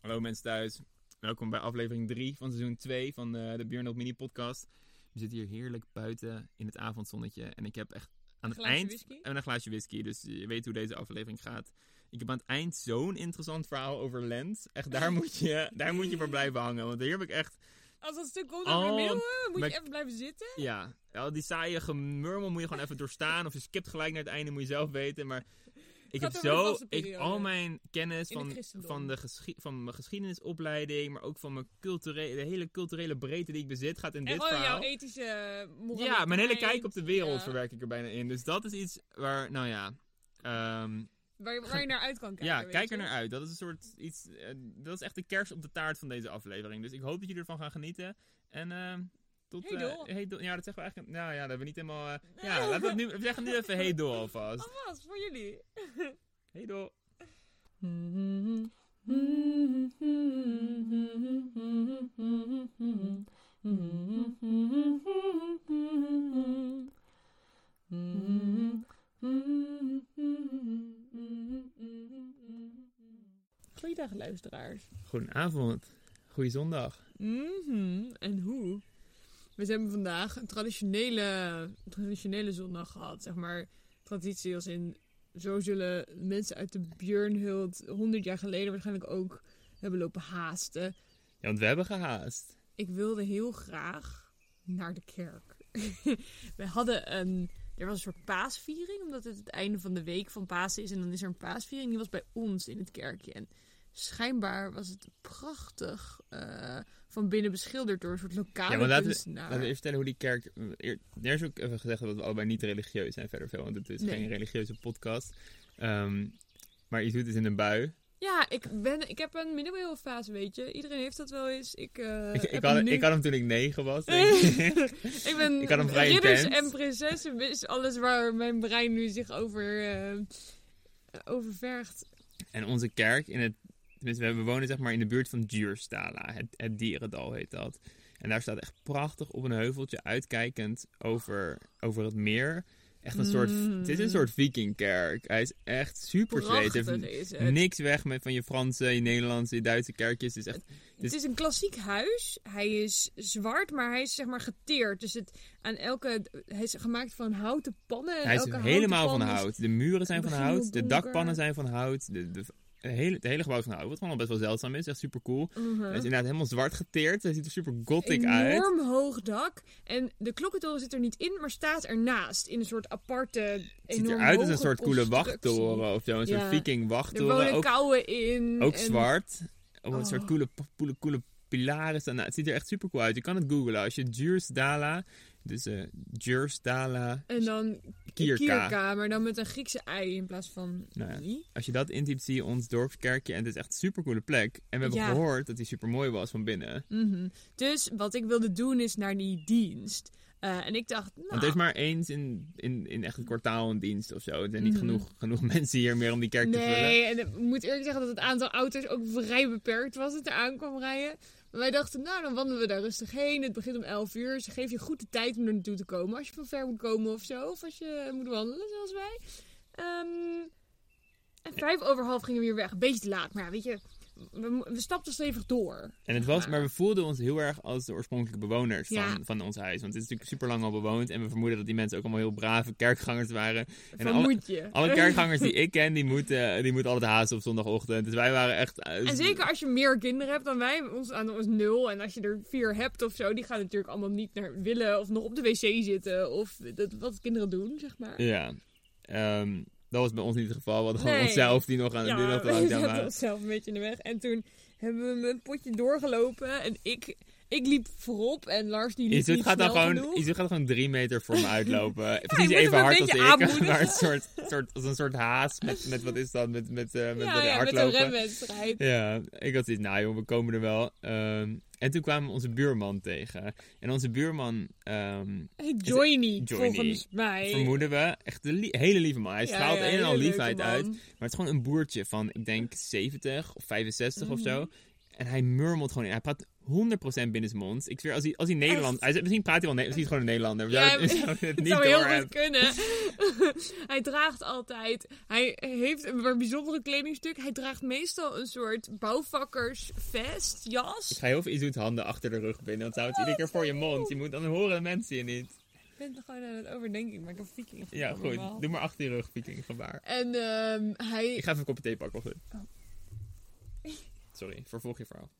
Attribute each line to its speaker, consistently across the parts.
Speaker 1: Hallo mensen thuis. Welkom bij aflevering 3 van seizoen 2 van eh, de Björn op Mini podcast. We zitten hier heerlijk buiten in het avondzonnetje. En ik heb echt aan het
Speaker 2: glaasje
Speaker 1: eind...
Speaker 2: whisky?
Speaker 1: En een glaasje whisky, dus je weet hoe deze aflevering gaat. Ik heb aan het eind zo'n interessant verhaal over Lent. Echt, daar moet je, daar moet je voor blijven hangen. Want hier heb ik echt...
Speaker 2: Als dat stuk komt
Speaker 1: Oh,
Speaker 2: over de middelen, eh, moet
Speaker 1: maar-
Speaker 2: je even blijven zitten.
Speaker 1: Ja, al die saaie gemurmel moet je gewoon even doorstaan. Of je skipt gelijk naar het einde, moet je zelf weten. Maar ik
Speaker 2: Gaat
Speaker 1: heb
Speaker 2: over de
Speaker 1: zo...
Speaker 2: vaste
Speaker 1: Ik,
Speaker 2: periode.
Speaker 1: al mijn kennis
Speaker 2: In het
Speaker 1: van,
Speaker 2: christendom.
Speaker 1: van, de geschi- van mijn geschiedenisopleiding... maar ook van mijn culturele, de hele culturele breedte die ik bezit... gaat in
Speaker 2: En oh
Speaker 1: dit
Speaker 2: gewoon
Speaker 1: verhaal...
Speaker 2: jouw ethische moraal.
Speaker 1: Ja, mijn hele kijk op de wereld
Speaker 2: ja.
Speaker 1: verwerk ik er bijna in. Dus dat is iets waar, nou ja... ehm,
Speaker 2: Waar je, waar je naar uit kan kijken.
Speaker 1: ja,
Speaker 2: weet
Speaker 1: kijk er
Speaker 2: je.
Speaker 1: naar uit. Dat is een soort iets. eh, dat is echt de kers op de taart van deze aflevering. Dus ik hoop dat jullie ervan gaan genieten. En ehm, tot.
Speaker 2: Hey,
Speaker 1: eh,
Speaker 2: Dol.
Speaker 1: hey, Dol. Ja, dat zeggen we eigenlijk. Nou ja, dat hebben we niet helemaal. eh, ja, laten we, het nu, we zeggen nu even hey Dol alvast.
Speaker 2: Alvast Oh, voor jullie.
Speaker 1: Hey Dol.
Speaker 2: Goeiedag luisteraars.
Speaker 1: Goedenavond. Goeie zondag.
Speaker 2: Mhm. En hoe? We hebben vandaag een traditionele, een traditionele zondag gehad. Zeg maar traditie als in... Zo zullen mensen uit de Björnhult 100 jaar geleden waarschijnlijk ook hebben lopen haasten.
Speaker 1: Ja, want we hebben gehaast.
Speaker 2: ik wilde heel graag naar de kerk. We hadden een. Er was een soort paasviering, omdat het het einde van de week van Pasen is. En dan is er een paasviering. Die was bij ons in het kerkje. En schijnbaar was het prachtig eh, van binnen beschilderd door een soort lokale
Speaker 1: Ja, maar laten we-
Speaker 2: kunstenaar.
Speaker 1: Laten we even vertellen hoe die kerk. eer- Er is ook even gezegd dat we allebei niet religieus zijn verder veel. Want het is
Speaker 2: Nee.
Speaker 1: geen religieuze podcast. Ehm, maar iets doet is in een bui.
Speaker 2: Ja, ik, ben, ik heb een middeleeuwenfase, weet je. Iedereen heeft dat wel eens. Ik, eh,
Speaker 1: ik, ik,
Speaker 2: heb
Speaker 1: had,
Speaker 2: hem nu.
Speaker 1: ik had hem toen ik negen was. Denk ik.
Speaker 2: Ik ben
Speaker 1: Ik had hem vrij
Speaker 2: ridders
Speaker 1: intens.
Speaker 2: en prinsessen is alles waar mijn brein nu zich over, eh, over vergt.
Speaker 1: En onze kerk, in het, tenminste, we wonen zeg maar in de buurt van Djurstala. Het, het dierendal heet dat. En daar staat echt prachtig op een heuveltje uitkijkend over, over het meer. Echt een soort,
Speaker 2: Mm.
Speaker 1: het is een soort vikingkerk. Hij is echt super zweet.
Speaker 2: Prachtig
Speaker 1: Heeft
Speaker 2: is het.
Speaker 1: niks weg met van je Franse, je Nederlandse, je Duitse kerkjes. Het is echt,
Speaker 2: Het is een klassiek huis. Hij is zwart, maar hij is zeg maar geteerd. Dus het, aan elke, hij is gemaakt van houten pannen. En
Speaker 1: hij is
Speaker 2: elke
Speaker 1: helemaal
Speaker 2: houten
Speaker 1: van
Speaker 2: pan is-
Speaker 1: hout. De muren zijn van
Speaker 2: begin heel
Speaker 1: hout, de
Speaker 2: donker.
Speaker 1: dakpannen zijn van hout, de, de, de hele, het hele gebouw is van hout. Wat gewoon al best wel zeldzaam is, echt super cool.
Speaker 2: Mhm.
Speaker 1: Hij is inderdaad helemaal zwart geteerd, hij ziet er super gothic uit.
Speaker 2: Enorm hoog dak. En de klokkentoren zit er niet in, maar staat ernaast. In een soort aparte,
Speaker 1: Het ziet
Speaker 2: enorm
Speaker 1: eruit als een
Speaker 2: hoge
Speaker 1: soort coole
Speaker 2: constructie.
Speaker 1: wachttoren of zo. Een
Speaker 2: Ja.
Speaker 1: soort viking
Speaker 2: Er
Speaker 1: wachttoren.
Speaker 2: wonen
Speaker 1: Ook,
Speaker 2: kouwen in.
Speaker 1: ook
Speaker 2: en-
Speaker 1: zwart. Op een soort
Speaker 2: Oh.
Speaker 1: coole, coole, coole pilaren staan. Nou, het ziet er echt super cool uit. Je kan het googlen. Als je Djursdala, dus eh Djursdala
Speaker 2: En dan
Speaker 1: Kierka.
Speaker 2: Kierka, maar dan met een Griekse ei in plaats van
Speaker 1: Nou ja.
Speaker 2: i.
Speaker 1: Als je dat intypt zie je ons dorpskerkje. En het is echt een super coole plek. En we hebben
Speaker 2: Ja.
Speaker 1: gehoord dat die super mooi was van binnen.
Speaker 2: Mhm. Dus wat ik wilde doen is naar die dienst. Eh, en ik dacht, nou,
Speaker 1: Want er is maar eens in, in, in echt het kwartaal een dienst of zo. Er zijn niet
Speaker 2: Mhm.
Speaker 1: genoeg, genoeg mensen hier meer om die kerk te vullen.
Speaker 2: Nee, en ik moet eerlijk zeggen dat het aantal auto's ook vrij beperkt was dat er aan kwam rijden. Maar wij dachten, nou, dan wandelen we daar rustig heen. Het begint om 11 uur. Ze geven je goed de tijd om er naartoe te komen. Als je van ver moet komen of zo. Of als je moet wandelen, zoals wij. Ehm, en vijf over half gingen we weer weg. Een beetje te laat, maar ja, weet je... We, mo- we stapten stevig door.
Speaker 1: En het was, maar we voelden ons heel erg als de oorspronkelijke bewoners van,
Speaker 2: Ja.
Speaker 1: van ons huis. Want het is natuurlijk super lang al bewoond. En we vermoeden dat die mensen ook allemaal heel brave kerkgangers waren. En alle,
Speaker 2: Vermoed je.
Speaker 1: alle kerkgangers die ik ken, die moeten, die moeten altijd haasten op zondagochtend. Dus wij waren echt... eh,
Speaker 2: En zeker als je meer kinderen hebt dan wij, ons aan ons nul. En als je er vier hebt of zo, die gaan natuurlijk allemaal niet naar willen of nog op de wc zitten. Of dat, wat kinderen doen, zeg maar.
Speaker 1: Ja. Ehm, dat was bij ons niet het geval. We hadden gewoon
Speaker 2: Nee.
Speaker 1: onszelf die nog aan het doen.
Speaker 2: we
Speaker 1: Dat
Speaker 2: zaten onszelf een beetje in de weg. En toen hebben we mijn potje doorgelopen. En ik, ik liep voorop en Lars die liep
Speaker 1: Isoet
Speaker 2: niet
Speaker 1: gaat dan
Speaker 2: snel
Speaker 1: gewoon,
Speaker 2: genoeg.
Speaker 1: Isoet gaat gewoon drie meter voor me uitlopen. Eh,
Speaker 2: je
Speaker 1: Precies
Speaker 2: moet
Speaker 1: even
Speaker 2: hem een
Speaker 1: hard als
Speaker 2: beetje
Speaker 1: ik.
Speaker 2: aanmoedigen.
Speaker 1: Maar een soort, soort, als een soort haas met, met wat is dat? Met, met, eh, met,
Speaker 2: ja,
Speaker 1: met
Speaker 2: ja, met een
Speaker 1: hardlopen.
Speaker 2: remwedstrijd.
Speaker 1: Ja, ik had zoiets, nou joh, we komen er wel. Ehm, en toen kwamen we onze buurman tegen. En onze buurman, ehm,
Speaker 2: Hey, Joiny,
Speaker 1: Joiny.
Speaker 2: volgens mij.
Speaker 1: vermoeden we, echt een lie- hele lieve man. Hij
Speaker 2: Ja,
Speaker 1: straalt
Speaker 2: ja,
Speaker 1: een en al
Speaker 2: hele leuke
Speaker 1: liefheid
Speaker 2: man. Mhm.
Speaker 1: uit. Maar het is gewoon een boertje van, ik denk, 70 of 65 of zo. En hij murmelt gewoon in. Hij praat 100% binnen zijn mond. Ik zweer, als hij, als hij Nederland...
Speaker 2: Echt?
Speaker 1: Hij, is- misschien praat hij wel... Ne- Misschien is hij gewoon een Nederlander. We
Speaker 2: Ja,
Speaker 1: zouden- we
Speaker 2: maar-
Speaker 1: zouden het
Speaker 2: Het
Speaker 1: niet
Speaker 2: zou
Speaker 1: door
Speaker 2: heel goed
Speaker 1: hebben.
Speaker 2: kunnen. hij draagt altijd. Hij heeft een maar bijzondere kledingstuk. Hij draagt meestal een soort bouwvakkersvest,
Speaker 1: Ik
Speaker 2: jas.
Speaker 1: ga heel veel iets doen met handen achter de rug binnen. Want het houdt iedere keer voor je mond. Je moet, dan horen mensen je niet.
Speaker 2: Ik ben gewoon aan het overdenken, maar ik heb viking.
Speaker 1: Ja, goed. Doe maar achter je rug, Viking. Gebaar.
Speaker 2: En ehm, hij,
Speaker 1: Ik ga even een kopje thee pakken. Of...
Speaker 2: Oh.
Speaker 1: Oh. Sorry, vervolg je verhaal.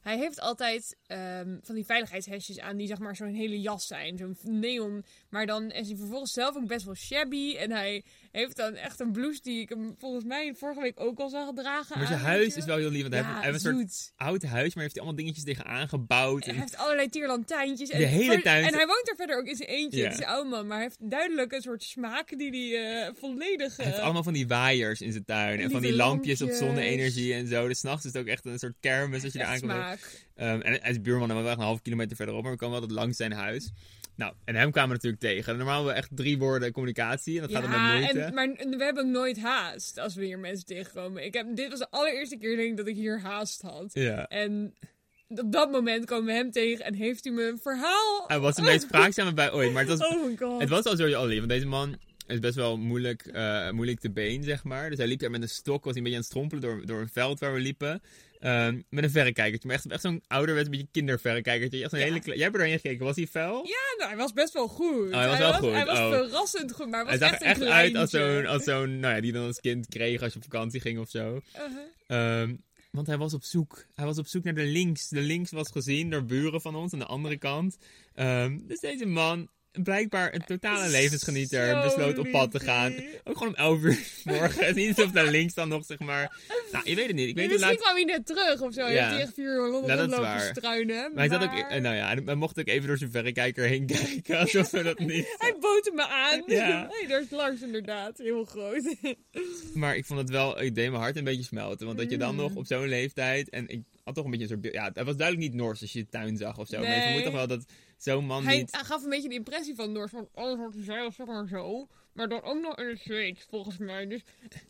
Speaker 2: hij heeft altijd ehm, van die veiligheidshesjes aan die zeg maar zo'n hele jas zijn. Zo'n neon. Maar dan is hij vervolgens zelf ook best wel shabby. En hij heeft dan echt een blouse die ik hem volgens mij vorige week ook al zag dragen.
Speaker 1: Maar zijn
Speaker 2: aan, Ah, weet
Speaker 1: huis
Speaker 2: je.
Speaker 1: is wel heel lief. Want hij
Speaker 2: Ja,
Speaker 1: heeft- hij heeft een soort
Speaker 2: zoet.
Speaker 1: oud huis, maar heeft hij allemaal dingetjes tegen aangebouwd.
Speaker 2: Hij
Speaker 1: En
Speaker 2: heeft allerlei tierlantijntjes. En,
Speaker 1: De hele
Speaker 2: maar-
Speaker 1: tuin-
Speaker 2: En hij woont er verder ook in zijn eentje.
Speaker 1: Ja.
Speaker 2: Het is een oude man. Maar hij heeft duidelijk een soort smaak die, die hij volledig...
Speaker 1: Hij heeft
Speaker 2: eh,
Speaker 1: allemaal van die waaiers in zijn tuin. En
Speaker 2: lieve
Speaker 1: van die lampjes op
Speaker 2: lampjes.
Speaker 1: zonne-energie en zo. Dus 's nachts is het ook echt een soort kermis als je
Speaker 2: echt
Speaker 1: er aankomt.
Speaker 2: smaak.
Speaker 1: Ehm, en hij is buurman en we waren echt een half kilometer verderop. Maar we kwamen altijd langs zijn huis. Nou, en hem kwamen we natuurlijk tegen. En Normaal hebben we echt drie woorden communicatie. En dat gaat dan met
Speaker 2: Ja,
Speaker 1: moeite.
Speaker 2: en, maar we hebben ook nooit haast als we hier mensen tegenkomen. Ik heb, dit was de allereerste keer denk ik, dat ik hier haast had.
Speaker 1: Ja.
Speaker 2: En op dat moment komen we hem tegen en heeft hij me een verhaal.
Speaker 1: Hij was de meest spraakzame bij ooit. Maar het was,
Speaker 2: Oh my god.
Speaker 1: het was al sowieso al lief. Want deze man is best wel moeilijk, eh, moeilijk te been, zeg maar. Dus hij liep daar met een stok. Was hij een beetje aan het strompelen door, door een veld waar we liepen. Ehm, met een verrekijkertje. Maar echt, echt zo'n ouderwets, beetje kinderverrekijkertje. Echt zo'n
Speaker 2: Ja.
Speaker 1: hele kle- Jij hebt er doorheen gekeken. Was hij fel?
Speaker 2: Ja, nou, hij was best wel goed.
Speaker 1: hij was wel goed,
Speaker 2: Hij was
Speaker 1: oh.
Speaker 2: verrassend goed, maar hij
Speaker 1: Hij
Speaker 2: was
Speaker 1: zag
Speaker 2: echt
Speaker 1: er
Speaker 2: een
Speaker 1: echt uit als
Speaker 2: kleintje.
Speaker 1: zo'n, als zo'n, nou ja, die je dan als kind kreeg als je op vakantie ging of zo.
Speaker 2: Uh-huh.
Speaker 1: Ehm, want hij was op zoek. Hij was op zoek naar de links. De links was gezien door buren van ons aan de andere kant. Ehm, dus deze man, blijkbaar een totale levensgenieter,
Speaker 2: Zo
Speaker 1: besloot op pad te
Speaker 2: liefie.
Speaker 1: gaan. Ook gewoon om 11 uur 's morgen. Het is niet alsof naar links dan nog, zeg maar. Nou, je weet het niet. Ik weet niet hoe
Speaker 2: misschien
Speaker 1: laat.
Speaker 2: kwam hij net terug of zo. Hij
Speaker 1: Ja.
Speaker 2: heeft hij echt vier uur
Speaker 1: Nou,
Speaker 2: rond-
Speaker 1: dat is
Speaker 2: rondlopen
Speaker 1: waar.
Speaker 2: struinen.
Speaker 1: Maar hij, zat ook,
Speaker 2: maar-
Speaker 1: eh, nou ja, hij- hij mocht ook even door zijn verrekijker heen kijken, alsof we dat niet...
Speaker 2: Hij bootte me aan.
Speaker 1: Ja.
Speaker 2: hey, daar is Lars inderdaad. Heel groot.
Speaker 1: Maar ik vond het wel, ik deed mijn hart een beetje smelten. Want dat je dan
Speaker 2: Mm.
Speaker 1: nog op zo'n leeftijd. En ik had toch een beetje een soort. beeld- Ja, het was duidelijk niet Noors als je de tuin zag of zo. Maar je
Speaker 2: Nee.
Speaker 1: moet toch wel dat zo'n man
Speaker 2: hij,
Speaker 1: niet.
Speaker 2: hij gaf een beetje de impressie van Noors van... Oh, wat gezellig, zeg maar zo. Maar dan ook nog in het Zweeds, volgens mij. Dus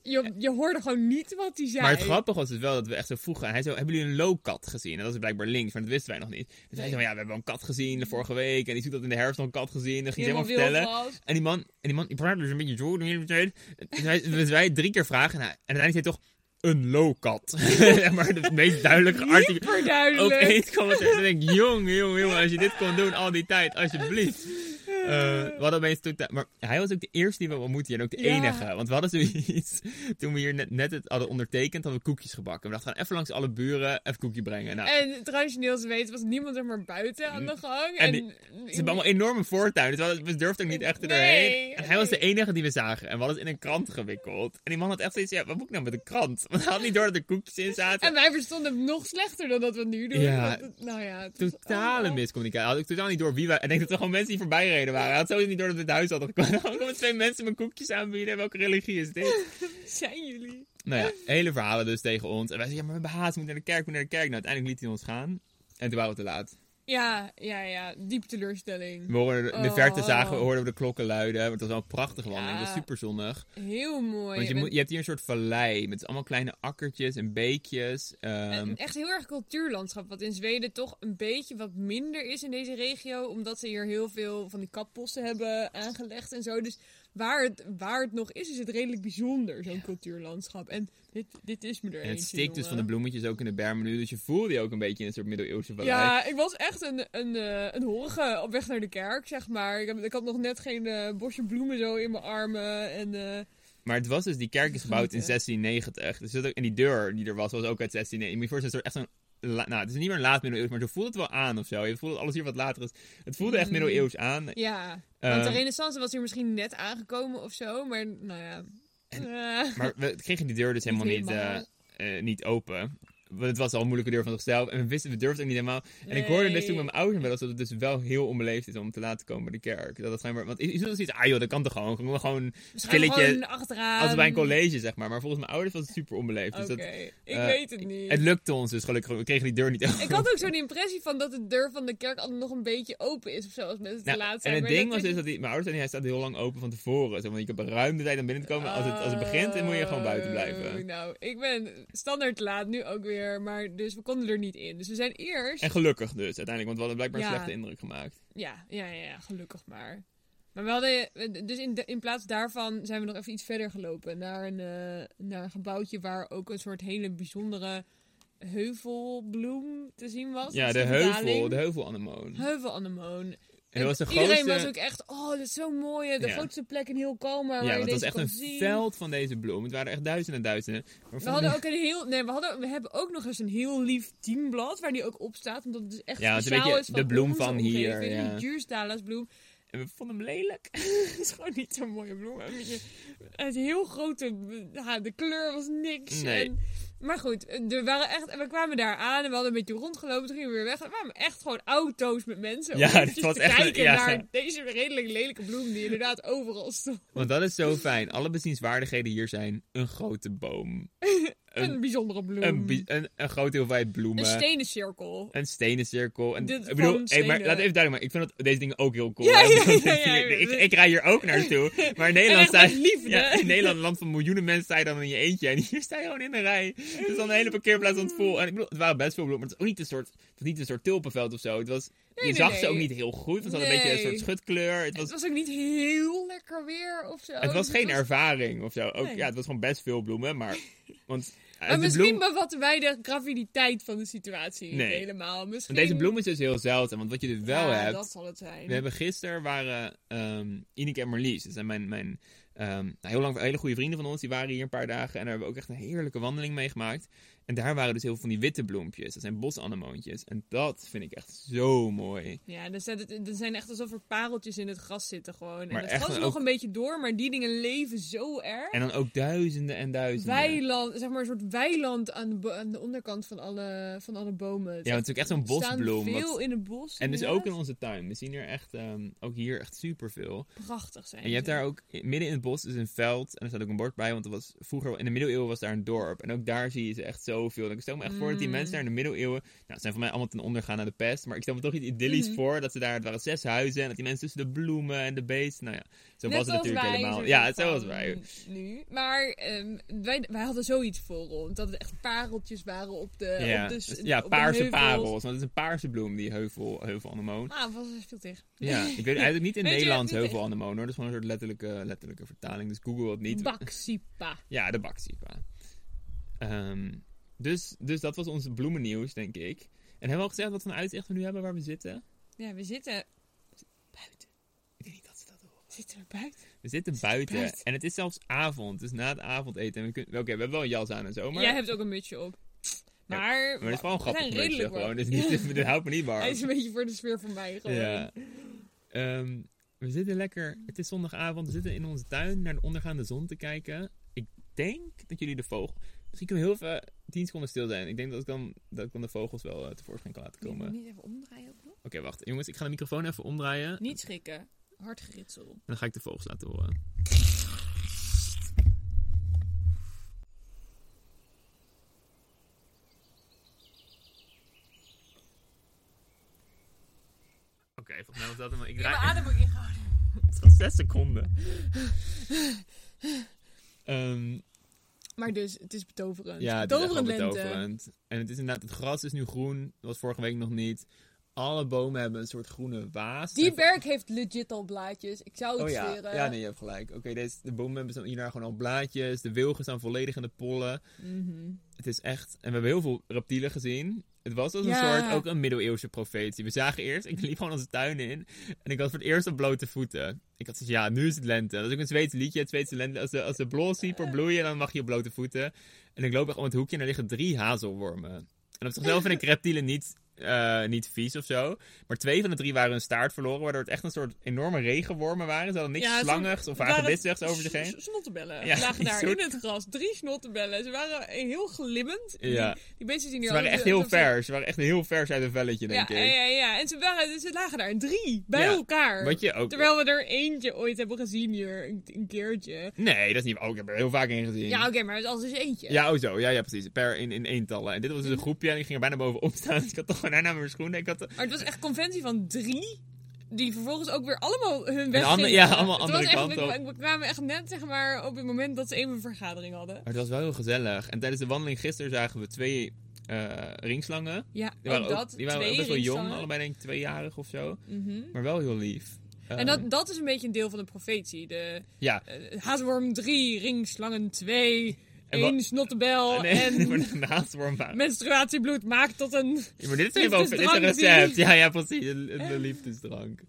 Speaker 2: je, je hoorde gewoon niet wat hij zei.
Speaker 1: Maar het grappige was dus wel dat we echt zo vroegen. En hij zo, hebben jullie een loopkat gezien? En dat is blijkbaar links, maar dat wisten wij nog niet. Dus hij
Speaker 2: Nee.
Speaker 1: zei, ja, we hebben wel een kat gezien de vorige week. En die zoekt dat in de herfst nog een kat gezien. En dan ging hij
Speaker 2: Helemaal
Speaker 1: helemaal vertellen.
Speaker 2: wild was.
Speaker 1: En die man, en die man, die praat dus een beetje zo. de hele tijd. Dus wij, dus wij drie keer vragen. En, hij, en uiteindelijk zei hij toch, een loopkat. maar het meest duidelijke artikel.
Speaker 2: Hyperduidelijk.
Speaker 1: opeens kwam het en denk ik, jong, jong, jong, als je dit kon doen al die tijd, alsjeblieft. Eh, we hadden opeens totaal... Maar hij was ook de eerste die we ontmoetten en ook de
Speaker 2: Ja.
Speaker 1: enige. Want we hadden zoiets, toen we hier net, net het hadden ondertekend, hadden we koekjes gebakken. We dachten, gaan even langs alle buren even koekje brengen. Nou,
Speaker 2: En traditioneel te weten was niemand er maar buiten aan de gang.
Speaker 1: En
Speaker 2: En,
Speaker 1: die- ze hebben allemaal enorme voortuin, dus we hadden- we durfden ook niet echt er
Speaker 2: Nee,
Speaker 1: doorheen. En hij was de
Speaker 2: nee.
Speaker 1: enige die we zagen. En we hadden het in een krant gewikkeld. En die man had echt zoiets, ja, wat moet ik nou met een krant? Want hij had niet door dat er koekjes in zaten.
Speaker 2: en wij verstonden hem nog slechter dan dat we nu doen.
Speaker 1: Ja.
Speaker 2: want het- nou ja, het was
Speaker 1: Totale
Speaker 2: allemaal-
Speaker 1: miscommunicatie. Had ik totaal niet door wie wij. En ik denk dat er gewoon mensen die voorbij reden waren. Hij had sowieso niet door dat we het huis hadden gekomen. Gewoon komen twee mensen mijn koekjes aanbieden. Welke religie is dit?
Speaker 2: Zijn jullie?
Speaker 1: nou ja, hele verhalen dus tegen ons. En wij zeiden, ja, maar we hebben haast. We moeten naar de kerk, we moeten naar de kerk. Nou, uiteindelijk liet hij ons gaan. En toen waren we te laat.
Speaker 2: Ja, ja, ja. Diepe teleurstelling.
Speaker 1: We hoorden, in de
Speaker 2: Oh.
Speaker 1: verte zagen, we- hoorden we de klokken luiden. Want het was wel een prachtige wandeling. Het was
Speaker 2: Ja.
Speaker 1: super zonnig.
Speaker 2: Heel mooi.
Speaker 1: Want je,
Speaker 2: bent
Speaker 1: moet, je hebt hier een soort vallei. Met allemaal kleine akkertjes en beekjes. ehm,
Speaker 2: een- echt heel erg cultuurlandschap, wat in Zweden toch een beetje wat minder is in deze regio. Omdat ze hier heel veel van die kapposten hebben aangelegd en zo. Dus waar het, waar het nog is, is het redelijk bijzonder, zo'n cultuurlandschap. En dit, dit is me er
Speaker 1: en het
Speaker 2: eentje,
Speaker 1: stikt dus van de
Speaker 2: jongen.
Speaker 1: bloemetjes ook in de bermen nu. Dus je voelde je ook een beetje in een soort middeleeuwse vallei.
Speaker 2: Ja, ik was echt een, een, eh, een horige op weg naar de kerk, zeg maar. Ik, heb, ik had nog net geen eh, bosje bloemen zo in mijn armen. En, eh,
Speaker 1: Maar het was dus, die kerk is gebouwd in
Speaker 2: Genieten.
Speaker 1: 1690. Dus dat ook, en die deur die er was, was ook uit 1690. Je moet je voorstellen, het is echt zo'n... la- Nou, het is niet meer een laat middeleeuws, maar zo voelt het wel aan of zo. Je voelt dat alles hier wat later is. Het voelde echt
Speaker 2: Mm.
Speaker 1: middeleeuws aan.
Speaker 2: ja, want de
Speaker 1: Ehm,
Speaker 2: renaissance was hier misschien net aangekomen of zo. Maar nou ja... Eh.
Speaker 1: Maar we kregen die deur dus helemaal niet,
Speaker 2: helemaal.
Speaker 1: eh, eh, niet open. Want het was al een moeilijke deur van zichzelf. En we wisten, we durfden ook niet helemaal. En ik hoorde dus toen met mijn ouders wel eens dat het dus wel heel onbeleefd is om te laten komen bij de kerk. Dat het schijnbaar... Want is dat zoiets, ah joh, dat kan toch gewoon. Gewoon- Gewoon
Speaker 2: Waarschijnlijk
Speaker 1: Skilletje,
Speaker 2: gewoon achteraan.
Speaker 1: als bij een college, zeg maar. Maar volgens mijn ouders was het super onbeleefd.
Speaker 2: Ehm. Oké,
Speaker 1: Dus dat,
Speaker 2: ik
Speaker 1: eh,
Speaker 2: weet het niet.
Speaker 1: het lukte ons dus gelukkig. We kregen die deur niet open.
Speaker 2: Ik had ook zo'n impressie van dat de deur van de kerk altijd nog een beetje open is of zo, als mensen
Speaker 1: Nou,
Speaker 2: te laat
Speaker 1: en
Speaker 2: zijn.
Speaker 1: het
Speaker 2: maar
Speaker 1: ding
Speaker 2: dat
Speaker 1: was
Speaker 2: ik-
Speaker 1: dus dat die, mijn ouders zeiden, hij staat heel lang open van tevoren. Zo, want je hebt een ruim de tijd om binnen te komen. Als het, als het begint, dan moet je gewoon buiten blijven.
Speaker 2: Oh, nou, ik ben standaard laat nu ook weer. weer. Maar dus we konden er niet in. Dus we zijn eerst.
Speaker 1: En gelukkig dus uiteindelijk, want we hadden blijkbaar een
Speaker 2: Ja.
Speaker 1: slechte indruk gemaakt.
Speaker 2: Ja, ja, ja, ja, gelukkig maar. Maar we hadden, dus in, de- in plaats daarvan zijn we nog even iets verder gelopen. Naar een, eh, naar een gebouwtje waar ook een soort hele bijzondere heuvelbloem te zien was. Dus
Speaker 1: Ja,
Speaker 2: Een
Speaker 1: de
Speaker 2: soort
Speaker 1: heuvel,
Speaker 2: daling.
Speaker 1: de heuvelanemoon.
Speaker 2: Heuvelanemoon.
Speaker 1: En dat was de
Speaker 2: Iedereen
Speaker 1: grootste...
Speaker 2: was ook echt, oh, dit is zo mooi. De
Speaker 1: Ja.
Speaker 2: grootste plek in heel Kalmar waar
Speaker 1: ja,
Speaker 2: je
Speaker 1: want het was
Speaker 2: deze
Speaker 1: echt
Speaker 2: kon
Speaker 1: een
Speaker 2: zien.
Speaker 1: veld van deze bloemen. Het waren echt duizenden en duizenden. Maar
Speaker 2: We hadden ook een heel, nee, we, hadden, we hebben ook nog eens een heel lief teamblad waar die ook op staat. Omdat het dus echt
Speaker 1: Ja, het is een
Speaker 2: speciaal
Speaker 1: beetje
Speaker 2: is van
Speaker 1: de bloem
Speaker 2: onze
Speaker 1: van hier,
Speaker 2: omgeving,
Speaker 1: ja.
Speaker 2: De Duurstalersbloem.
Speaker 1: En we vonden hem lelijk.
Speaker 2: Het is gewoon niet zo'n mooie bloem. Een beetje- Het heel grote, ja, de kleur was niks.
Speaker 1: Nee.
Speaker 2: En, maar goed, er waren echt, en we kwamen daar aan en we hadden een beetje rondgelopen. Toen gingen we weer weg. Er waren echt gewoon auto's met mensen. om
Speaker 1: Ja,
Speaker 2: eventjes
Speaker 1: dit was
Speaker 2: te
Speaker 1: echt een-
Speaker 2: kijken
Speaker 1: ja.
Speaker 2: naar deze redelijk lelijke bloem die inderdaad overal stond.
Speaker 1: Want dat is zo fijn. Alle bezienswaardigheden hier zijn een grote boom.
Speaker 2: Een,
Speaker 1: Een-
Speaker 2: bijzondere bloem.
Speaker 1: Een, bi- een, een grote hoeveelheid bloemen.
Speaker 2: Mm. een stenen cirkel.
Speaker 1: een stenencirkel. En,
Speaker 2: Dit
Speaker 1: ik bedoel,
Speaker 2: van
Speaker 1: hey, maar
Speaker 2: stenen.
Speaker 1: laat even duidelijk maken. Ik vind dat, deze dingen ook heel cool.
Speaker 2: Ja,
Speaker 1: hè?
Speaker 2: ja,
Speaker 1: Ik bedoel,
Speaker 2: ja, ja, ja.
Speaker 1: ik, ik rij hier ook naartoe. Maar in Nederland,
Speaker 2: echt met
Speaker 1: sta,
Speaker 2: liefde.
Speaker 1: ja, in Nederland, een land van miljoenen mensen, sta je dan in je eentje. En hier sta je gewoon in een rij. Het is dan een hele parkeerplaats aan het vol. En ik bedoel, het waren best veel bloemen. Maar het is ook niet een soort, het was niet een soort tulpenveld of zo. Het was,
Speaker 2: Nee,
Speaker 1: je
Speaker 2: nee,
Speaker 1: zag ze
Speaker 2: nee.
Speaker 1: ook niet heel goed. Het was een
Speaker 2: Nee.
Speaker 1: beetje een soort schutkleur. Het was,
Speaker 2: Het was ook niet heel lekker weer of zo.
Speaker 1: het was
Speaker 2: Dus
Speaker 1: geen ervaring of zo. Ook,
Speaker 2: Nee.
Speaker 1: ja, het was gewoon best veel bloemen. Maar, want,
Speaker 2: Maar
Speaker 1: de
Speaker 2: misschien
Speaker 1: bloem-
Speaker 2: bevatten wij de graviteit van de situatie niet
Speaker 1: Nee.
Speaker 2: helemaal. Misschien...
Speaker 1: want deze bloem is dus heel zeldzaam. Want wat je dus wel
Speaker 2: ja,
Speaker 1: hebt...
Speaker 2: dat zal het zijn.
Speaker 1: We hebben gisteren waren ehm Ineke en Marlies. Dat zijn mijn, mijn ehm, nou, heel lang, hele goede vrienden van ons. Die waren hier een paar dagen. En daar hebben we ook echt een heerlijke wandeling meegemaakt. En daar waren dus heel veel van die witte bloempjes. Dat zijn bosanemoontjes. En dat vind ik echt zo mooi.
Speaker 2: Ja, dan zijn, het, dan zijn echt alsof er pareltjes in het gras zitten gewoon.
Speaker 1: Maar
Speaker 2: en het
Speaker 1: echt
Speaker 2: gras is
Speaker 1: ook-
Speaker 2: nog een beetje door, maar die dingen leven zo erg.
Speaker 1: En dan ook duizenden en duizenden.
Speaker 2: Weiland, zeg maar een soort weiland aan de, bo- aan de onderkant van alle, van alle bomen.
Speaker 1: Ja, want het is ook echt zo'n bosbloem.
Speaker 2: staan
Speaker 1: wat-
Speaker 2: veel in het bos.
Speaker 1: en dus
Speaker 2: inderdaad.
Speaker 1: ook in onze tuin. We zien er echt, ehm, ook hier echt superveel.
Speaker 2: Prachtig zijn
Speaker 1: En je hebt
Speaker 2: ze.
Speaker 1: daar ook, midden in het bos is een veld. En er staat ook een bord bij, want er was, vroeger in de middeleeuwen was daar een dorp. En ook daar zie je ze echt zoveel. En ik stel me echt voor dat die
Speaker 2: Mm.
Speaker 1: mensen daar in de middeleeuwen... Nou, ze zijn van mij allemaal ten onder gegaan naar de pest. Maar ik stel me toch iets idyllisch
Speaker 2: Mhm.
Speaker 1: voor. Dat ze daar, het waren zes huizen. En dat die mensen tussen de bloemen en de beesten... Nou ja, zo
Speaker 2: Net
Speaker 1: was het
Speaker 2: zoals
Speaker 1: natuurlijk
Speaker 2: wij,
Speaker 1: helemaal.
Speaker 2: soort
Speaker 1: Ja, het
Speaker 2: van eh,
Speaker 1: zoals wij.
Speaker 2: Nu. Maar ehm, wij, wij hadden zoiets voor ons. Dat het echt pareltjes waren op de.
Speaker 1: Ja,
Speaker 2: op de, s-
Speaker 1: ja
Speaker 2: op de
Speaker 1: paarse
Speaker 2: heuvels.
Speaker 1: parels. Want het is een paarse bloem, die heuvel, heuvelanemoon.
Speaker 2: Ah, was er veel tegen.
Speaker 1: Ja, ik weet eigenlijk niet in
Speaker 2: Weet je,
Speaker 1: Nederland
Speaker 2: niet echt.
Speaker 1: heuvelanemoon hoor. Dat is gewoon een soort letterlijke, letterlijke vertaling. Dus Google het niet.
Speaker 2: Baksipa.
Speaker 1: Ja, de baksipa. Ehm dus, dus dat was ons bloemennieuws, denk ik. En hebben we al gezegd wat voor een uitzicht we nu hebben waar we zitten?
Speaker 2: Ja, we zitten buiten.
Speaker 1: Ik denk niet dat ze dat horen.
Speaker 2: Zitten we buiten?
Speaker 1: We zitten buiten.
Speaker 2: buiten.
Speaker 1: En het is zelfs avond, dus na het avondeten. En we kunnen- Oké, we hebben wel een jas aan en zo, maar...
Speaker 2: Jij hebt ook een mutsje op. Maar,
Speaker 1: Maar het is wel een
Speaker 2: we zijn
Speaker 1: grappig mutsje
Speaker 2: redelijk warm.
Speaker 1: gewoon. Dus niet, dit houdt me niet warm.
Speaker 2: Hij is een beetje voor de sfeer van mij gewoon.
Speaker 1: Ja. Ehm, we zitten lekker. Het is zondagavond. We zitten in onze tuin naar de ondergaande zon te kijken. Ik denk dat jullie de vogel. Misschien kunnen we heel even tien seconden stil zijn. Ik denk dat ik dan, dat ik dan de vogels wel eh, tevoorschijn kan laten komen.
Speaker 2: Moet
Speaker 1: Oké,
Speaker 2: je Niet even omdraaien ook nog?
Speaker 1: wacht. Jongens, ik ga de microfoon even omdraaien. En
Speaker 2: Niet schrikken. Hard geritsel.
Speaker 1: dan ga ik de vogels laten horen. Oké, volgens mij was dat hem. Ik draai...
Speaker 2: adem ook ingehouden.
Speaker 1: Het was zes seconden. Ehm,
Speaker 2: Maar dus, het is betoverend.
Speaker 1: ja, het is echt wel
Speaker 2: betoverend lente.
Speaker 1: betoverend. En het is inderdaad, het gras is nu groen. Dat was vorige week nog niet. Alle bomen hebben een soort groene waas.
Speaker 2: Die
Speaker 1: En-
Speaker 2: berg heeft legit al blaadjes. Ik zou het
Speaker 1: Oh ja,
Speaker 2: zweren.
Speaker 1: ja, nee, je hebt gelijk. Oké, deze- de bomen hebben zo- hierna gewoon al blaadjes. De wilgen staan volledig in de pollen.
Speaker 2: Mhm.
Speaker 1: Het is echt... En we hebben heel veel reptielen gezien. Het was als
Speaker 2: Ja.
Speaker 1: een soort, ook een middeleeuwse profetie. We zagen eerst, ik liep gewoon onze tuin in. En ik was voor het eerst op blote voeten. Ik had zoiets, ja, nu is het lente. Dat is ook een Zweeds liedje, het Zweedse lente. Als de, als de blossie per bloeien, dan mag je op blote voeten. En ik loop echt om het hoekje en er liggen drie hazelwormen. En op zichzelf vind ik reptielen niet, eh, niet vies of zo. Maar twee van de drie waren hun staart verloren, waardoor het echt een soort enorme regenwormen waren. Ze hadden niks
Speaker 2: Ja, het
Speaker 1: slangigs of
Speaker 2: waren-
Speaker 1: hagedistigs over zich
Speaker 2: S-
Speaker 1: heen.
Speaker 2: s- Snottenbellen.
Speaker 1: Ja,
Speaker 2: lagen
Speaker 1: die
Speaker 2: daar
Speaker 1: soort-
Speaker 2: in het gras. Drie snottenbellen. Ze waren heel glimmend.
Speaker 1: Ja.
Speaker 2: Die, die beesten zien hier
Speaker 1: Ze waren
Speaker 2: ook-
Speaker 1: echt heel
Speaker 2: alsof ze-
Speaker 1: vers. Ze waren echt heel vers uit een velletje,
Speaker 2: Ja,
Speaker 1: denk
Speaker 2: ja,
Speaker 1: ik.
Speaker 2: ja, ja. En ze, waren, ze lagen daar in drie. Bij
Speaker 1: Ja,
Speaker 2: elkaar.
Speaker 1: Wat je ook...
Speaker 2: Terwijl we er eentje ooit hebben gezien hier. Een, een keertje.
Speaker 1: Nee, dat is niet... Oh, ik heb er heel vaak in gezien.
Speaker 2: Ja, oké, maar het is altijd eentje.
Speaker 1: Ja, oh zo. Ja, ja precies. Per in, in eentallen. En dit was dus een groepje en ik ging er bijna bovenop staan. Dus ik had toch gewoon daarna mijn schoenen. Ik had
Speaker 2: Maar het was echt conventie van drie. Die vervolgens ook weer allemaal hun weg
Speaker 1: andere-
Speaker 2: gingen.
Speaker 1: ja, allemaal
Speaker 2: Het
Speaker 1: andere
Speaker 2: was echt,
Speaker 1: kant
Speaker 2: we, we kwamen echt net zeg maar, op het moment dat ze even een vergadering hadden.
Speaker 1: Maar het was wel heel gezellig. En tijdens de wandeling gisteren zagen we twee eh, ringslangen.
Speaker 2: Ja,
Speaker 1: Die
Speaker 2: ook
Speaker 1: waren, ook,
Speaker 2: dat.
Speaker 1: die waren
Speaker 2: twee
Speaker 1: ook best wel jong,
Speaker 2: ringslangen.
Speaker 1: allebei denk ik tweejarig of zo.
Speaker 2: Mhm.
Speaker 1: Maar wel heel lief. Eh,
Speaker 2: En dat, dat is een beetje een deel van de profetie. De
Speaker 1: Ja.
Speaker 2: eh, haasworm 3, ringslangen 2,
Speaker 1: En wa-
Speaker 2: één snottebel
Speaker 1: Nee, maar
Speaker 2: Oh, en
Speaker 1: de naaldworm waren-
Speaker 2: menstruatiebloed maakt tot een...
Speaker 1: Ja, maar dit is, weer wel- dit is een
Speaker 2: Liefdesdrank die-
Speaker 1: recept. Ja, ja, precies. Een, een- een liefdesdrank.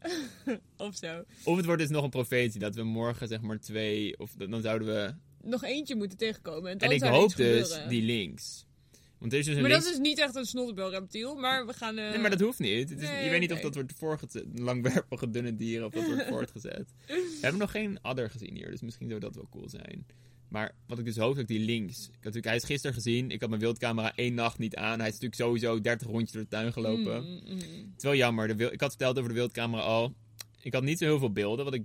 Speaker 2: Of zo.
Speaker 1: Of het wordt dus nog een profetie. Dat we morgen zeg maar twee... Of dat- dan zouden we...
Speaker 2: Nog eentje moeten tegenkomen. En, dan
Speaker 1: en ik
Speaker 2: zou er iets
Speaker 1: hoop dus
Speaker 2: gebeuren.
Speaker 1: die links. Want er is dus een
Speaker 2: Maar
Speaker 1: links...
Speaker 2: dat is niet echt een snottebelreptiel, maar we gaan... eh,
Speaker 1: Nee, maar dat hoeft niet. Het is,
Speaker 2: Nee,
Speaker 1: je weet niet
Speaker 2: oké.
Speaker 1: of dat wordt voortgezet. Langwerpige dunne dieren of dat wordt voortgezet. We hebben nog geen adder gezien hier, dus misschien zou dat wel cool zijn. Maar wat ik dus hoop, dat ik die links... Ik had natuurlijk, hij is gisteren gezien. Ik had mijn wildcamera één nacht niet aan. Hij is natuurlijk sowieso 30 rondjes door de tuin gelopen.
Speaker 2: Mm, mm, mm.
Speaker 1: Het is wel jammer. De wil- ik had verteld over de wildcamera al. Ik had niet zo heel veel beelden, want ik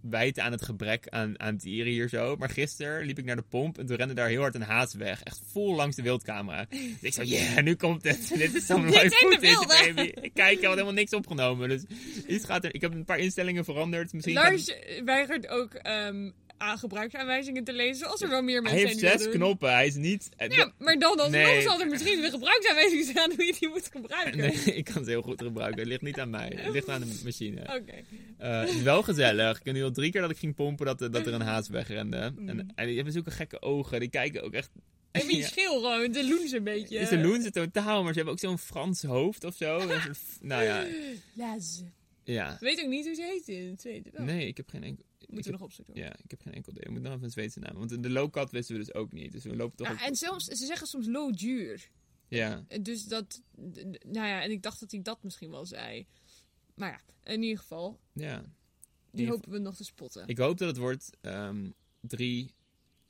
Speaker 1: wijd aan het gebrek aan, aan dieren hier zo. Maar gisteren liep ik naar de pomp en toen rende daar heel hard een haas weg. Echt vol langs de wildcamera. Dus ik zo, yeah, nu komt het. Dit is zo'n
Speaker 2: Dit
Speaker 1: live
Speaker 2: zijn de
Speaker 1: footage,
Speaker 2: beelden.
Speaker 1: baby. Ik kijk, ik had helemaal niks opgenomen. Dus iets gaat er... Ik heb een paar instellingen veranderd. Misschien gaat-
Speaker 2: Lars eh, weigert ook ehm aan gebruiksaanwijzingen te lezen, als er wel meer
Speaker 1: Hij
Speaker 2: mensen
Speaker 1: heeft
Speaker 2: zijn die dat
Speaker 1: zes
Speaker 2: doen.
Speaker 1: knoppen. Hij is niet...
Speaker 2: Ja, maar dan alsnog
Speaker 1: Nee.
Speaker 2: zal er misschien weer gebruiksaanwijzingen zijn hoe je die moet gebruiken.
Speaker 1: Nee, ik kan ze heel goed gebruiken. Het ligt niet aan mij. Het ligt aan de machine.
Speaker 2: Oké.
Speaker 1: Eh, het is wel gezellig. Ik heb nu al drie keer dat ik ging pompen dat, er- dat er een haas wegrende. En, en die hebben zulke gekke ogen. Die kijken ook echt...
Speaker 2: Even iets
Speaker 1: Ja.
Speaker 2: schil gewoon, de loen ze een beetje.
Speaker 1: Is de loen ze totaal, maar ze hebben ook zo'n Frans hoofd of zo. Een soort f- nou ja,
Speaker 2: Laz.
Speaker 1: ja.
Speaker 2: Ik weet ook niet hoe ze heet in het tweede. wel.
Speaker 1: Nee, ik heb geen enkel...
Speaker 2: Moeten we nog opzoeken.
Speaker 1: Ja, ik heb geen enkel idee. Ik moet nog even een Zweedse naam. Want de low-cut wisten we dus ook niet. Dus we lopen toch...
Speaker 2: Ah,
Speaker 1: ook-
Speaker 2: en soms, ze zeggen soms low duur.
Speaker 1: Ja.
Speaker 2: Dus dat, d- d- nou ja, en ik dacht dat hij dat misschien wel zei. Maar ja, in ieder geval,
Speaker 1: ja.
Speaker 2: die
Speaker 1: In-
Speaker 2: hopen we nog te spotten.
Speaker 1: Ik hoop dat het wordt ehm, drie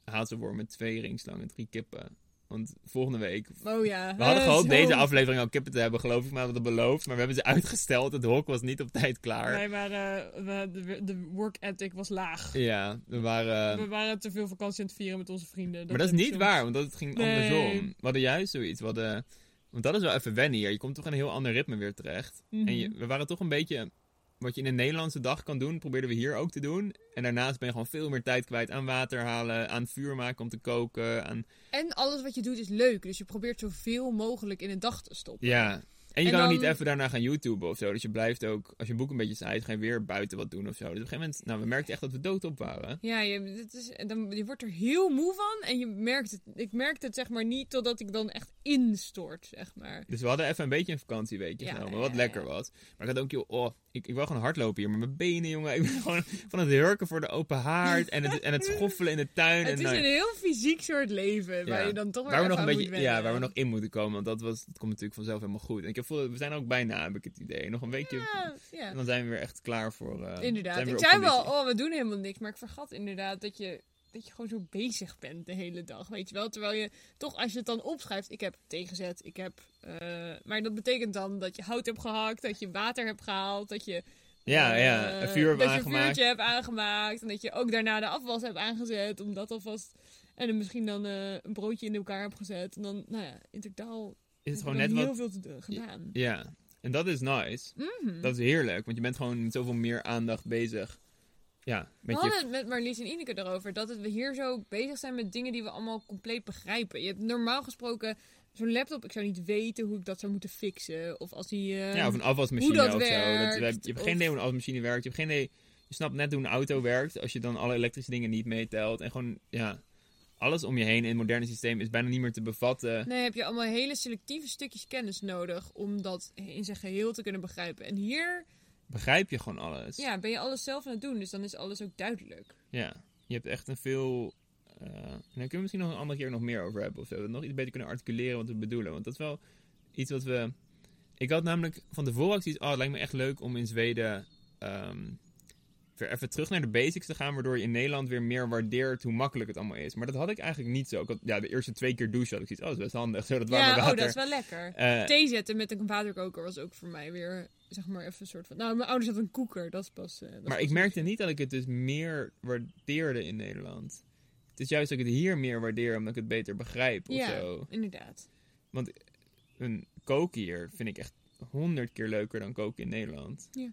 Speaker 1: hazelwormen, twee ringslangen, drie kippen. Want volgende week
Speaker 2: Oh ja.
Speaker 1: We hadden
Speaker 2: eh,
Speaker 1: gehoopt
Speaker 2: zo.
Speaker 1: deze aflevering al kippen te hebben, geloof ik, maar we hadden beloofd. Maar we hebben ze uitgesteld. Het hok was niet op tijd klaar.
Speaker 2: Wij waren, eh, we- de, de work ethic was laag.
Speaker 1: Ja, we waren.
Speaker 2: We waren te veel vakantie aan het vieren met onze vrienden.
Speaker 1: maar dat is niet
Speaker 2: heb ik soms.
Speaker 1: waar, want dat het ging
Speaker 2: Nee.
Speaker 1: andersom. We hadden juist zoiets. We hadden... Want dat is wel even wennen hier. Je komt toch in een heel ander ritme weer terecht.
Speaker 2: Mhm.
Speaker 1: En je, we waren toch een beetje. Wat je in een Nederlandse dag kan doen, probeerden we hier ook te doen. En daarnaast ben je gewoon veel meer tijd kwijt aan water halen, aan vuur maken om te koken. Aan...
Speaker 2: En alles wat je doet is leuk, dus je probeert zoveel mogelijk in een dag te stoppen.
Speaker 1: Ja. En je
Speaker 2: En
Speaker 1: kan ook
Speaker 2: dan-
Speaker 1: niet even daarna gaan YouTuben of zo. Dus je blijft ook, als je boek een beetje saai is, ga je weer buiten wat doen of zo. Dus op een gegeven moment, nou, we merkten echt dat we doodop waren.
Speaker 2: Ja, je, dat is, en dan, je wordt er heel moe van en je merkt het, ik merkte het zeg maar niet totdat ik dan echt instort, zeg maar.
Speaker 1: Dus we hadden even een beetje een vakantieweekje
Speaker 2: Ja,
Speaker 1: genomen,
Speaker 2: ja,
Speaker 1: wat
Speaker 2: ja,
Speaker 1: lekker
Speaker 2: ja.
Speaker 1: was. Maar ik had ook, joh, oh, ik, ik wil gewoon hardlopen hier met mijn benen, jongen. Ik ben gewoon van het hurken voor de open haard en het, en het schoffelen in de tuin.
Speaker 2: Het
Speaker 1: en
Speaker 2: is
Speaker 1: nou-
Speaker 2: een heel fysiek soort leven waar
Speaker 1: Ja.
Speaker 2: je dan toch weer
Speaker 1: waar we nog
Speaker 2: even
Speaker 1: een
Speaker 2: aan
Speaker 1: beetje,
Speaker 2: moet
Speaker 1: ja,
Speaker 2: wennen.
Speaker 1: waar we nog in moeten komen, want dat, was, dat komt natuurlijk vanzelf helemaal goed. En ik heb voel, we zijn er ook bijna, heb ik het idee. Nog een weekje
Speaker 2: Ja, ja.
Speaker 1: en dan zijn we weer echt klaar voor... eh, zijn
Speaker 2: Inderdaad.
Speaker 1: we
Speaker 2: Ik
Speaker 1: weer op
Speaker 2: zei wel,
Speaker 1: conditie.
Speaker 2: oh, we doen helemaal niks. Maar ik vergat inderdaad dat je, dat je gewoon zo bezig bent de hele dag. Weet je wel? Terwijl je toch, als je het dan opschrijft, ik heb tegenzet, ik heb. eh, maar dat betekent dan dat je hout hebt gehakt, dat je water hebt gehaald, dat je.
Speaker 1: Ja,
Speaker 2: eh,
Speaker 1: ja, een vuur hebben
Speaker 2: dat je een
Speaker 1: aangemaakt.
Speaker 2: vuurtje hebt aangemaakt. En dat je ook daarna de afwas hebt aangezet, om dat alvast. En dan misschien dan eh, een broodje in elkaar hebt gezet. En dan, nou ja, in totaal.
Speaker 1: Is
Speaker 2: heb
Speaker 1: het
Speaker 2: ik
Speaker 1: gewoon
Speaker 2: nog
Speaker 1: net
Speaker 2: heel
Speaker 1: wat
Speaker 2: veel te doen- gedaan.
Speaker 1: Ja, en dat is nice.
Speaker 2: Mhm.
Speaker 1: Dat is heerlijk, want je bent gewoon met zoveel meer aandacht bezig. Ja, met
Speaker 2: we
Speaker 1: je...
Speaker 2: hadden het met Marlies en Ineke erover. Dat het we hier zo bezig zijn met dingen die we allemaal compleet begrijpen. Je hebt normaal gesproken zo'n laptop. Ik zou niet weten hoe ik dat zou moeten fixen. Of als die... eh,
Speaker 1: Ja, of een afwasmachine
Speaker 2: hoe dat
Speaker 1: of zo.
Speaker 2: werkt,
Speaker 1: Dat, we- je hebt
Speaker 2: of-
Speaker 1: geen idee hoe een afwasmachine werkt. Je hebt geen idee... Je snapt net hoe een auto werkt als je dan alle elektrische dingen niet meetelt. En gewoon, ja... Alles om je heen in het moderne systeem is bijna niet meer te bevatten.
Speaker 2: Nee, heb je allemaal hele selectieve stukjes kennis nodig. Om dat in zijn geheel te kunnen begrijpen. En hier
Speaker 1: Begrijp je gewoon alles.
Speaker 2: ja, ben je alles zelf aan het doen. Dus dan is alles ook duidelijk.
Speaker 1: Ja. Je hebt echt een veel... eh daar kunnen we misschien nog een andere keer nog meer over hebben of zo. Dat we nog iets beter kunnen articuleren wat we bedoelen. Want dat is wel iets wat we... Ik had namelijk van tevoren ook zoiets... Oh, het lijkt me echt leuk om in Zweden... ehm, weer even terug naar de basics te gaan... waardoor je in Nederland weer meer waardeert hoe makkelijk het allemaal is. Maar dat had ik eigenlijk niet zo. Ik had, ja, de eerste twee keer douchen had ik zoiets... Oh, dat is best handig. Zo, dat warme
Speaker 2: ja,
Speaker 1: water.
Speaker 2: oh, dat is wel lekker.
Speaker 1: Eh,
Speaker 2: Thee zetten met een waterkoker was ook voor mij weer... Zeg maar even een soort van... Nou, mijn ouders hadden een koeker. Dat is pas... eh, dat is
Speaker 1: maar
Speaker 2: pas
Speaker 1: ik merkte niet dat ik het dus meer waardeerde in Nederland. Het is juist dat ik het hier meer waardeer... omdat ik het beter begrijp of
Speaker 2: Ja,
Speaker 1: zo.
Speaker 2: inderdaad.
Speaker 1: een koken hier vind ik echt honderd keer leuker dan koken in Nederland.
Speaker 2: Ja.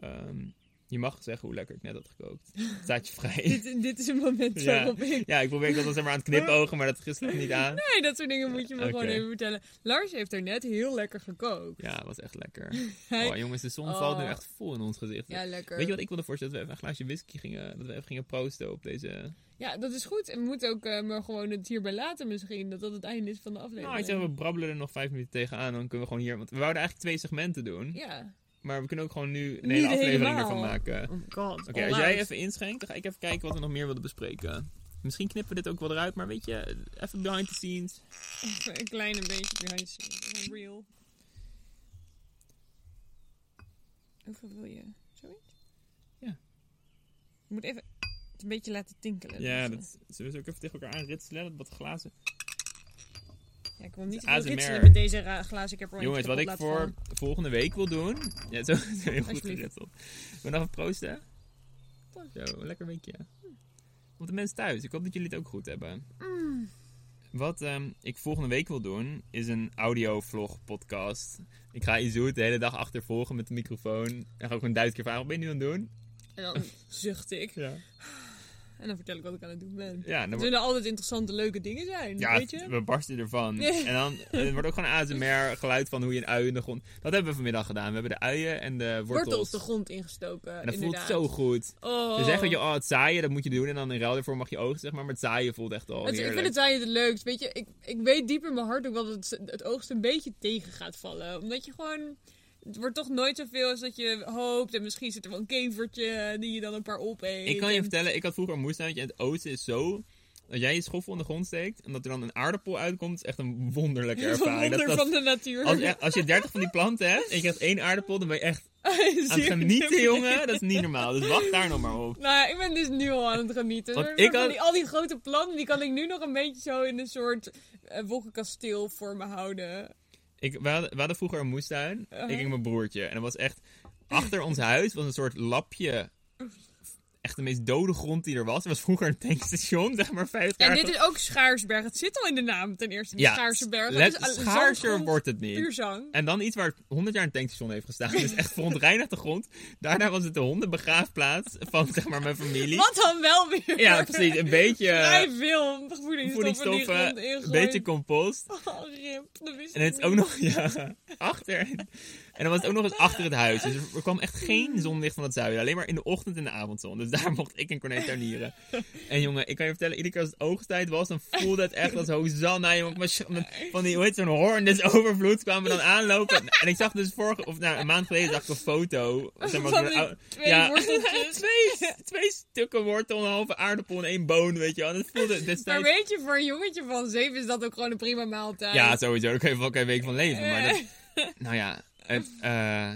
Speaker 1: Ehm, Je mag zeggen hoe lekker ik net had gekookt. Staat je vrij.
Speaker 2: dit, dit is een moment
Speaker 1: Ja.
Speaker 2: waarop ik...
Speaker 1: ja, ik probeer dat dan zeg maar aan het knipogen, maar dat gisteren niet aan.
Speaker 2: Nee, dat soort dingen moet je me
Speaker 1: Oké.
Speaker 2: gewoon even vertellen. Lars heeft er net heel lekker gekookt.
Speaker 1: Ja, was echt lekker.
Speaker 2: Hij-
Speaker 1: Oh jongens, de zon
Speaker 2: Oh.
Speaker 1: valt nu echt vol in ons gezicht.
Speaker 2: Ja, lekker.
Speaker 1: Weet je wat ik wilde voorstellen? Dat we even een glaasje whisky gingen, dat we even gingen proosten op deze...
Speaker 2: Ja, dat is goed. En we moeten ook eh, maar gewoon het hierbij laten misschien. Dat dat het einde is van de
Speaker 1: Nou, ik
Speaker 2: aflevering.
Speaker 1: zeg, we brabbelen er nog vijf minuten tegenaan. Dan kunnen we gewoon hier... Want we wouden eigenlijk twee segmenten doen.
Speaker 2: Ja.
Speaker 1: Maar we kunnen ook gewoon nu een
Speaker 2: Niet
Speaker 1: hele aflevering
Speaker 2: helemaal.
Speaker 1: ervan maken.
Speaker 2: Oh god.
Speaker 1: Oké, als jij even inschenkt, dan ga ik even kijken wat we nog meer wilden bespreken. Misschien knippen we dit ook wel eruit, maar weet je, even behind the scenes.
Speaker 2: even... Een klein beetje behind the scenes. Real. Hoeveel wil je? Zoiets?
Speaker 1: Ja.
Speaker 2: Je moet even het een beetje laten tinkelen.
Speaker 1: Ja,
Speaker 2: dus,
Speaker 1: dat, zullen we ze ook even tegen elkaar aanritselen, dat wat glazen.
Speaker 2: eh, ja ik wil niet
Speaker 1: is
Speaker 2: te veel
Speaker 1: ASMR.
Speaker 2: ritselen met deze ra- glazen. Ik heb er wel
Speaker 1: Jongens,
Speaker 2: eentje
Speaker 1: wat ik
Speaker 2: kapot
Speaker 1: voor
Speaker 2: laten
Speaker 1: volgende week wil doen... Ja, zo zo heel goed
Speaker 2: Alsjeblieft.
Speaker 1: geritseld. We nog even proosten.
Speaker 2: Proost.
Speaker 1: Zo, een lekker weekje. Want de mensen thuis, ik hoop dat jullie het ook goed hebben.
Speaker 2: vallen. Mm.
Speaker 1: Wat ehm, ik volgende week wil doen, is een audio-vlog podcast. Ik ga Izoet de hele dag achtervolgen met de microfoon. En ga ook een duizend keer vragen, wat ben je nu aan het doen?
Speaker 2: En dan eh, zucht ik.
Speaker 1: Ja.
Speaker 2: En dan vertel ik wat ik aan het doen ben.
Speaker 1: Ja, dan
Speaker 2: Er
Speaker 1: wordt-
Speaker 2: zullen altijd interessante, leuke dingen zijn.
Speaker 1: Ja,
Speaker 2: weet je?
Speaker 1: we barsten ervan. En dan het wordt ook gewoon ASMR geluid van hoe je een ui in de grond... Dat hebben we vanmiddag gedaan. We hebben de uien en de wortels.
Speaker 2: Wortels de grond ingestoken.
Speaker 1: en dat
Speaker 2: inderdaad.
Speaker 1: voelt zo goed.
Speaker 2: Oh.
Speaker 1: Ze zeggen, joh, oh, het zaaien, dat moet je doen. En dan in ruil daarvoor mag je oogsten, zeg maar. Maar het zaaien voelt echt al
Speaker 2: Het- ik
Speaker 1: heerlijk.
Speaker 2: vind het zaaien het leukst. Weet je, ik, ik weet diep in mijn hart ook wel dat het, het oogst een beetje tegen gaat vallen. Omdat je gewoon... Het wordt toch nooit zoveel als dat je hoopt. En misschien zit er wel een kevertje die je dan een paar opeet.
Speaker 1: Ik kan je
Speaker 2: En-
Speaker 1: vertellen, ik had vroeger een moestuintje en het oosten is zo... Dat jij je schoffel in de grond steekt en dat er dan een aardappel uitkomt, is echt een wonderlijke
Speaker 2: Een
Speaker 1: ervaring.
Speaker 2: wonder
Speaker 1: Dat, dat,
Speaker 2: van de natuur.
Speaker 1: als, echt- als je 30 van die planten hebt en je krijgt één aardappel, dan ben je echt aan het
Speaker 2: Zeer
Speaker 1: genieten,
Speaker 2: simpel.
Speaker 1: jongen. Dat is niet normaal. Dus wacht daar nog maar op.
Speaker 2: Nou ja, ik ben dus nu al aan het genieten.
Speaker 1: Want
Speaker 2: Een
Speaker 1: ik
Speaker 2: soort van
Speaker 1: had-
Speaker 2: die, al die grote plannen, die kan ik nu nog een beetje zo in een soort eh, wolkenkasteel voor me houden.
Speaker 1: Ik, we, hadden, we hadden vroeger een moestuin.
Speaker 2: Uh-huh.
Speaker 1: Ik ging mijn broertje. En dat was echt... Achter ons huis was een soort lapje... Echt de meest dode grond die er was. Er was vroeger een tankstation, zeg maar 50 jaar
Speaker 2: En dit
Speaker 1: geleden.
Speaker 2: is ook Schaarsberg. Het zit al in de naam ten eerste.
Speaker 1: Ja,
Speaker 2: Schaarsberg.
Speaker 1: let-
Speaker 2: Dat is al-
Speaker 1: schaarser
Speaker 2: zandgrond,
Speaker 1: wordt het niet.
Speaker 2: Puur zang.
Speaker 1: En dan iets waar 100 jaar een tankstation heeft gestaan. Dus echt verontreinigde grond. Daarna was het de hondenbegraafplaats van zeg maar mijn familie.
Speaker 2: Wat dan wel weer?
Speaker 1: Ja, precies. Een beetje eh,
Speaker 2: Vrij veel voedingsstoffen die grond
Speaker 1: voedingsstoffen,
Speaker 2: ingooien.
Speaker 1: een beetje compost.
Speaker 2: Oh, rip. Dat wist
Speaker 1: En
Speaker 2: ik
Speaker 1: het is ook nog,
Speaker 2: niet.
Speaker 1: ja, achter. En dan was het ook nog eens achter het huis. Dus er kwam echt geen zonlicht van het zuiden. Alleen maar in de ochtend en de avondzon. Dus daar mocht ik en Corné tuinieren. En jongen, ik kan je vertellen, iedere keer als het oogsttijd was, dan voelde het echt als Hosanna. Jongen, Maar sch- met van die, hoe heet zo'n hoorn des overvloeds kwamen we dan aanlopen. En ik zag dus vorige, of nou, een maand geleden zag ik een foto. Zeg maar,
Speaker 2: Van
Speaker 1: zo'n
Speaker 2: die
Speaker 1: oude-
Speaker 2: twee worteltjes.
Speaker 1: twee, twee stukken wortel, een halve aardappel en één boon, weet je wel. En het voelde
Speaker 2: Maar
Speaker 1: destijds...
Speaker 2: weet je, voor een jongetje van zeven is dat ook gewoon een prima maaltijd.
Speaker 1: Ja, sowieso. Daar kun je wel een week van leven. Maar dat,
Speaker 2: Eh.
Speaker 1: nou ja, het, eh,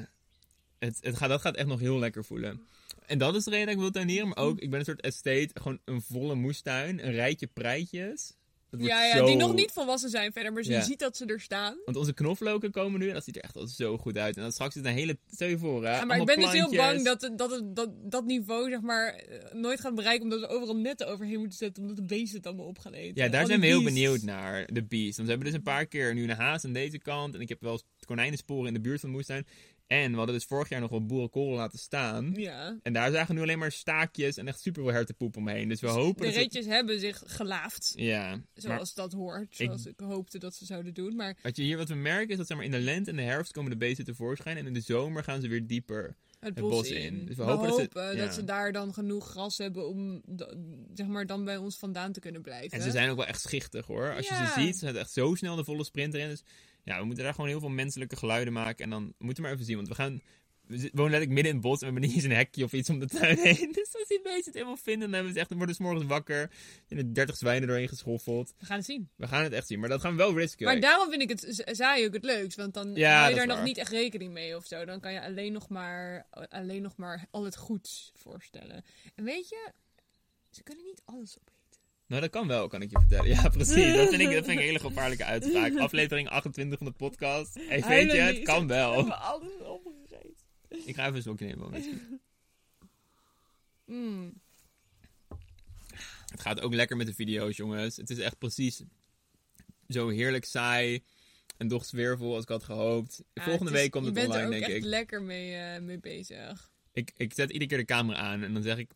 Speaker 1: het, het gaat, dat gaat echt nog heel lekker voelen. En dat is de reden dat ik wil tuinieren. Maar ook, ik ben een soort estate. Gewoon een volle moestuin. Een rijtje prijtjes. Dat wordt
Speaker 2: Ja, ja
Speaker 1: zo-
Speaker 2: die nog niet volwassen zijn verder, maar
Speaker 1: Ja. Eh,
Speaker 2: je ziet dat ze er staan.
Speaker 1: Want onze knoflooken komen nu en dat ziet er echt al zo goed uit. En dan straks is het een hele... Stel je voor, hè,
Speaker 2: Ja, maar
Speaker 1: allemaal
Speaker 2: ik ben dus heel
Speaker 1: plantjes.
Speaker 2: bang dat, het- dat, het- dat dat niveau zeg maar, eh, nooit gaat bereiken omdat we overal netten overheen moeten zetten omdat de beesten het allemaal op gaan eten.
Speaker 1: Ja, daar
Speaker 2: Al
Speaker 1: zijn we
Speaker 2: die
Speaker 1: heel
Speaker 2: beests.
Speaker 1: benieuwd naar, de beest. Want we hebben dus een paar keer nu een haas aan deze kant. En ik heb wel eens konijnensporen in de buurt van de moestuin. En we hadden dus vorig jaar nog wel boerenkool laten staan.
Speaker 2: Ja.
Speaker 1: En daar zagen we nu alleen maar staakjes en echt super veel hertenpoep omheen. Dus we hopen
Speaker 2: De
Speaker 1: dat... het-
Speaker 2: reetjes hebben zich gelaafd,
Speaker 1: Ja, maar
Speaker 2: zoals dat hoort. Zoals ik hoopte dat ze zouden doen. Maar
Speaker 1: wat je hier wat we merken is dat zeg maar, in de lente en de herfst komen de beesten tevoorschijn. En in de zomer gaan ze weer dieper.
Speaker 2: het
Speaker 1: bos
Speaker 2: bos,
Speaker 1: in.
Speaker 2: in.
Speaker 1: Dus we
Speaker 2: we,
Speaker 1: hopen dat ze-
Speaker 2: hopen
Speaker 1: ja.
Speaker 2: dat ze daar dan genoeg gras hebben om da- zeg maar, dan bij ons vandaan te kunnen blijven.
Speaker 1: En ze zijn ook wel echt schichtig hoor. Als je
Speaker 2: Ja.
Speaker 1: ze ziet, ze zijn echt zo snel de volle sprint erin. Dus ja, we moeten daar gewoon heel veel menselijke geluiden maken. En dan moeten we maar even zien, want we gaan... We zi- wonen letterlijk midden in het bos en we hebben niet eens een hekje of iets om de tuin heen. Dus als die beesten het helemaal vinden, dan hebben ze echt, dan worden ze 's morgens wakker. En er 30 zwijnen doorheen geschoffeld.
Speaker 2: We gaan het zien.
Speaker 1: We gaan het echt zien, maar dat gaan we wel risken.
Speaker 2: Maar daarom vind ik het z- saai ook het leukst. Want dan
Speaker 1: Ja,
Speaker 2: hou
Speaker 1: dat
Speaker 2: je
Speaker 1: is
Speaker 2: daar nog
Speaker 1: waar.
Speaker 2: niet echt rekening mee of zo. Dan kan je alleen nog maar, alleen nog maar al het goeds voorstellen. En weet je, ze kunnen niet alles opeten.
Speaker 1: Nou, dat kan wel, kan ik je vertellen. Ja, precies. Dat vind ik, dat vind ik een hele gevaarlijke uitspraak. Aflevering 28 van de podcast. Hey, weet je, het kan
Speaker 2: We
Speaker 1: wel.
Speaker 2: hebben alles opgegeten.
Speaker 1: Ik ga even een slokje nemen. want
Speaker 2: Mm.
Speaker 1: Het gaat ook lekker met de video's, jongens. Het is echt precies zo heerlijk saai. En doch zwervel als ik had gehoopt.
Speaker 2: Ja,
Speaker 1: Volgende
Speaker 2: Ah, het is-
Speaker 1: week komt het
Speaker 2: Je bent
Speaker 1: online,
Speaker 2: er ook
Speaker 1: denk
Speaker 2: echt
Speaker 1: ik.
Speaker 2: lekker mee, eh, mee bezig.
Speaker 1: Ik, ik zet iedere keer de camera aan en dan zeg ik...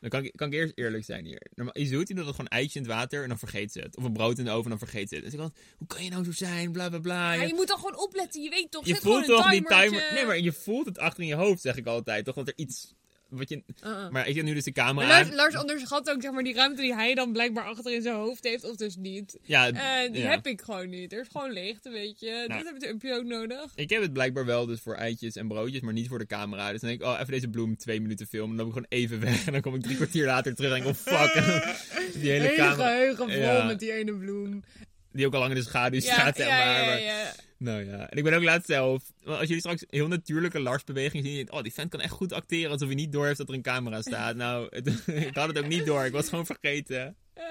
Speaker 1: Dan kan ik, kan ik eerst eerlijk zijn hier. Normaal- Je doet hij dat gewoon eitje in het water en dan vergeet ze het. Of een brood in de oven en dan vergeet ze het. Dus ik dacht, hoe kan je nou zo zijn? Bla, bla, bla.
Speaker 2: Ja,
Speaker 1: Je-
Speaker 2: je moet dan gewoon opletten. Je weet toch,
Speaker 1: je
Speaker 2: zet gewoon
Speaker 1: voelt toch
Speaker 2: een
Speaker 1: die timer.
Speaker 2: timertje.
Speaker 1: Nee, maar je voelt het achter in je hoofd, zeg ik altijd. Toch dat er iets. Wat je...
Speaker 2: Uh-uh.
Speaker 1: Maar ik zet nu dus de
Speaker 2: Maar
Speaker 1: camera
Speaker 2: Lars,
Speaker 1: aan.
Speaker 2: Lars onderschat ook zeg maar, die ruimte die hij dan blijkbaar achter in zijn hoofd heeft, of dus niet.
Speaker 1: Ja,
Speaker 2: Eh, die
Speaker 1: ja.
Speaker 2: heb ik gewoon niet. Er is gewoon leegte, weet je.
Speaker 1: Nou.
Speaker 2: Dat heb je een piloot nodig.
Speaker 1: Ik heb het blijkbaar wel dus voor eitjes en broodjes, maar niet voor de camera. Dus dan denk ik, oh, even deze bloem twee minuten filmen. Dan loop ik gewoon even weg. En dan kom ik drie kwartier later terug en denk ik, oh fuck. die hele
Speaker 2: Hele
Speaker 1: camera.
Speaker 2: geheugen vol
Speaker 1: Ja.
Speaker 2: met die ene bloem.
Speaker 1: Die ook al lang in de schaduw staat, zeg maar.
Speaker 2: ja, ja,
Speaker 1: maar-
Speaker 2: ja.
Speaker 1: Nou ja, en ik ben ook laatst zelf. want Als jullie straks heel natuurlijke Lars-beweging zien, je denkt, oh, die vent kan echt goed acteren alsof hij niet door heeft dat er een camera staat. Nou, het- ik had het ook niet door, ik was gewoon vergeten.
Speaker 2: Eh,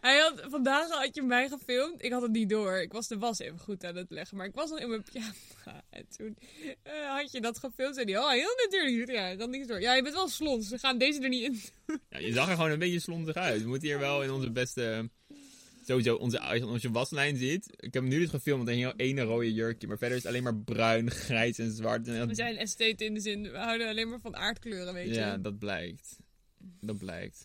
Speaker 2: hij had, vandaag had je mij gefilmd. Ik had het niet door. Ik was de was even goed aan het leggen. Maar ik was al in mijn pyjama. En toen eh, had je dat gefilmd. En die, oh, heel natuurlijk. Ja, dan niks door. Ja, je bent wel slons. We gaan deze er niet in.
Speaker 1: Ja, je zag er gewoon een beetje slondig uit. We moeten hier wel in onze beste. Sowieso, onze, als je onze waslijn ziet. Ik heb hem nu dus gefilmd met een heel ene rode jurkje. Maar verder is het alleen maar bruin, grijs en zwart. En
Speaker 2: We
Speaker 1: dat,
Speaker 2: zijn estheten in de zin. We houden alleen maar van aardkleuren, weet je.
Speaker 1: ja, dat blijkt. Dat blijkt.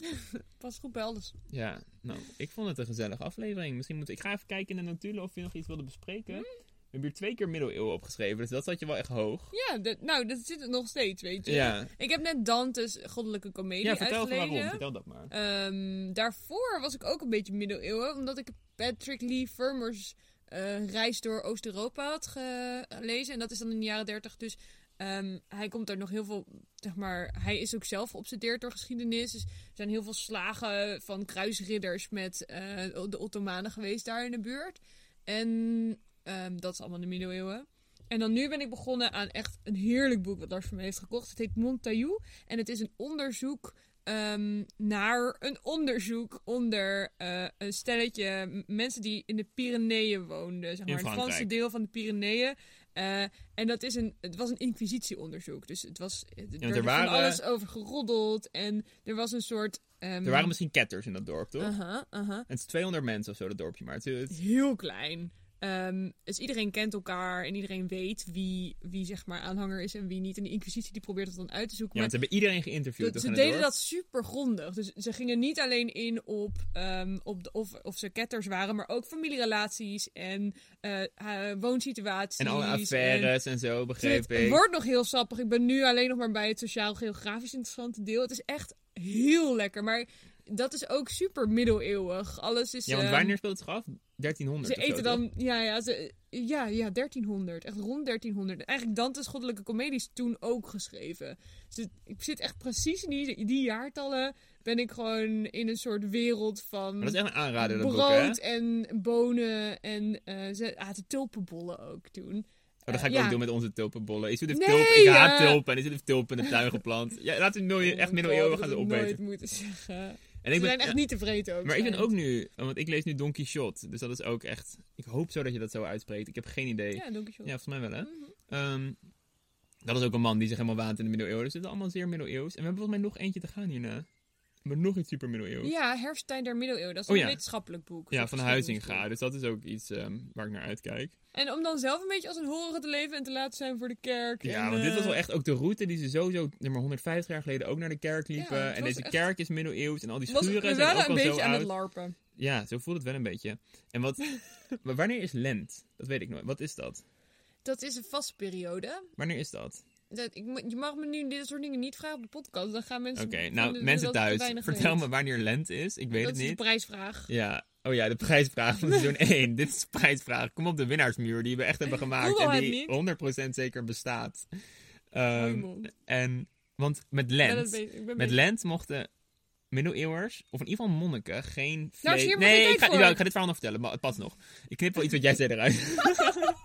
Speaker 2: Pas goed bij alles.
Speaker 1: Ja, nou, ik vond het een gezellige aflevering. Misschien moet ik ga even kijken in de notulen of je nog iets wilde bespreken.
Speaker 2: Hm?
Speaker 1: We hebben hier twee keer middeleeuwen opgeschreven, dus dat zat je wel echt hoog.
Speaker 2: Ja, dat- nou, dat zit het nog steeds, weet je.
Speaker 1: Ja,
Speaker 2: Ik heb net Dante's Goddelijke Comedie
Speaker 1: ja vertel gewoon
Speaker 2: uitgelezen.
Speaker 1: waarom. Vertel dat maar.
Speaker 2: Ehm, daarvoor was ik ook een beetje middeleeuwen, omdat ik Patrick Lee Vermers eh, reis door Oost-Europa had ge- gelezen. En dat is dan in de jaren 30. Dus ehm, hij komt daar nog heel veel, zeg maar, hij is ook zelf geobsedeerd door geschiedenis. Dus er zijn heel veel slagen van kruisridders met eh, de Ottomanen geweest daar in de buurt. En ehm, dat is allemaal de middeleeuwen. En dan nu ben ik begonnen aan echt een heerlijk boek wat Lars van me heeft gekocht. Het heet Montaillou. En het is een onderzoek ehm, naar een onderzoek onder eh, een stelletje m- mensen die in de Pyreneeën woonden. Zeg maar, het
Speaker 1: Frankrijk.
Speaker 2: Franse deel van de Pyreneeën. Eh, en dat is een, het was een inquisitieonderzoek. Dus het was, er werd van
Speaker 1: waren-
Speaker 2: alles over geroddeld. En er was een soort... ehm, eh.
Speaker 1: Er waren misschien ketters in dat dorp, toch?
Speaker 2: aha, aha.
Speaker 1: Het is 200 mensen of zo, dat dorpje, maar het, het-
Speaker 2: Heel klein. Ehm, dus iedereen kent elkaar en iedereen weet wie, wie zeg maar aanhanger is en wie niet. En de Inquisitie die probeert dat dan uit te zoeken.
Speaker 1: ja, want ze hebben iedereen geïnterviewd.
Speaker 2: Dat-
Speaker 1: toch
Speaker 2: ze
Speaker 1: in
Speaker 2: deden
Speaker 1: het dorp?
Speaker 2: dat super grondig. Dus ze gingen niet alleen in op, ehm, op de, of, of ze ketters waren, maar ook familierelaties en eh, eh, woonsituaties.
Speaker 1: En alle
Speaker 2: en-
Speaker 1: affaires en, zo, begreep
Speaker 2: het
Speaker 1: ik.
Speaker 2: wordt nog heel sappig. Ik ben nu alleen nog maar bij het sociaal-geografisch interessante deel. Het is echt heel lekker. Maar dat is ook super middeleeuwig. Alles is.
Speaker 1: Ja, want
Speaker 2: ehm,
Speaker 1: wanneer speelt het zich af? 1300
Speaker 2: Ze
Speaker 1: of zo,
Speaker 2: eten
Speaker 1: toch?
Speaker 2: dan. Ja, ja, ze, ja, ja, 1300. Echt rond 1300. Eigenlijk Dante's Goddelijke Comedies toen ook geschreven. Dus het- ik zit echt precies in die, die jaartallen. Ben ik gewoon in een soort wereld van.
Speaker 1: Maar dat is echt een aanrader, dat boek, hè?
Speaker 2: Brood en bonen en eh ze aten tulpenbollen ook toen.
Speaker 1: Oh, dat ga ik
Speaker 2: Eh,
Speaker 1: ook
Speaker 2: ja.
Speaker 1: doen met onze tulpenbollen. Is dit een
Speaker 2: Nee,
Speaker 1: tulp? Ik haat
Speaker 2: eh.
Speaker 1: tulpen. En is dit een tulp in de tuin geplant? Ja, laten we het middeleeuwen- Oh, echt middeleeuwen gaan ze opeten.
Speaker 2: nooit moeten zeggen.
Speaker 1: En
Speaker 2: Ze
Speaker 1: ik ben,
Speaker 2: zijn echt niet tevreden ook.
Speaker 1: maar ik ben
Speaker 2: zijn.
Speaker 1: ook nu, want ik lees nu Don Quixote. Dus dat is ook echt. Ik hoop zo dat je dat zo uitspreekt. Ik heb geen idee. Ja,
Speaker 2: Ja, dankjewel.
Speaker 1: volgens mij wel, hè?
Speaker 2: Mhm.
Speaker 1: Ehm, dat is ook een man die zich helemaal waant in de middeleeuwen. Dus het is allemaal zeer middeleeuws. En we hebben volgens mij nog eentje te gaan hierna. Maar nog iets super middeleeuws. Ja,
Speaker 2: Ja, Herfsttijd der Middeleeuwen. Dat is
Speaker 1: Oh,
Speaker 2: een
Speaker 1: ja.
Speaker 2: wetenschappelijk boek.
Speaker 1: van
Speaker 2: Een
Speaker 1: Huizinga. Dus dat is ook iets ehm, waar ik naar uitkijk.
Speaker 2: En om dan zelf een beetje als een horige te leven en te laten zijn voor de kerk.
Speaker 1: Ja,
Speaker 2: en,
Speaker 1: want dit was
Speaker 2: eh,
Speaker 1: wel echt ook de route die ze sowieso zeg maar 150 jaar geleden ook naar de kerk liepen.
Speaker 2: Ja, het
Speaker 1: en
Speaker 2: was
Speaker 1: deze
Speaker 2: echt-
Speaker 1: kerk is middeleeuws en al die
Speaker 2: eh, was,
Speaker 1: schuren
Speaker 2: we
Speaker 1: zijn
Speaker 2: waren
Speaker 1: ook
Speaker 2: een
Speaker 1: al zo
Speaker 2: beetje aan het
Speaker 1: oud.
Speaker 2: larpen.
Speaker 1: Ja, zo voelt het wel een beetje. En wat, maar wanneer is lent? Dat weet ik nooit. Wat is dat?
Speaker 2: Dat is een vaste periode.
Speaker 1: Wanneer is dat?
Speaker 2: Dat, ik, mo- je mag me nu dit soort dingen niet vragen op de podcast. Dan gaan
Speaker 1: Oké,
Speaker 2: mensen. vinden
Speaker 1: nou
Speaker 2: dat
Speaker 1: mensen
Speaker 2: ik te
Speaker 1: thuis,
Speaker 2: weinig
Speaker 1: vertel
Speaker 2: weet.
Speaker 1: me wanneer lent is. Ik weet
Speaker 2: Dat
Speaker 1: het
Speaker 2: is de
Speaker 1: niet.
Speaker 2: prijsvraag.
Speaker 1: Ja, oh ja, de prijsvraag van seizoen 1. Dit is de prijsvraag. Kom op de winnaarsmuur die we echt hebben gemaakt
Speaker 2: Google
Speaker 1: en
Speaker 2: het
Speaker 1: die
Speaker 2: niet.
Speaker 1: 100% zeker bestaat. Ehm,
Speaker 2: Mooi mond.
Speaker 1: en, want met
Speaker 2: Ik ben het
Speaker 1: lent,
Speaker 2: be- ik ben
Speaker 1: met
Speaker 2: bezig.
Speaker 1: lent mochten middeleeuwers, of in ieder geval monniken, geen
Speaker 2: Lars,
Speaker 1: vlees...
Speaker 2: hier hebben Nou, we
Speaker 1: nee,
Speaker 2: geen
Speaker 1: ik ga,
Speaker 2: tijd
Speaker 1: ja,
Speaker 2: voor.
Speaker 1: ik ga dit verhaal nog vertellen, maar het past nog. Ik knip wel iets wat jij zei eruit.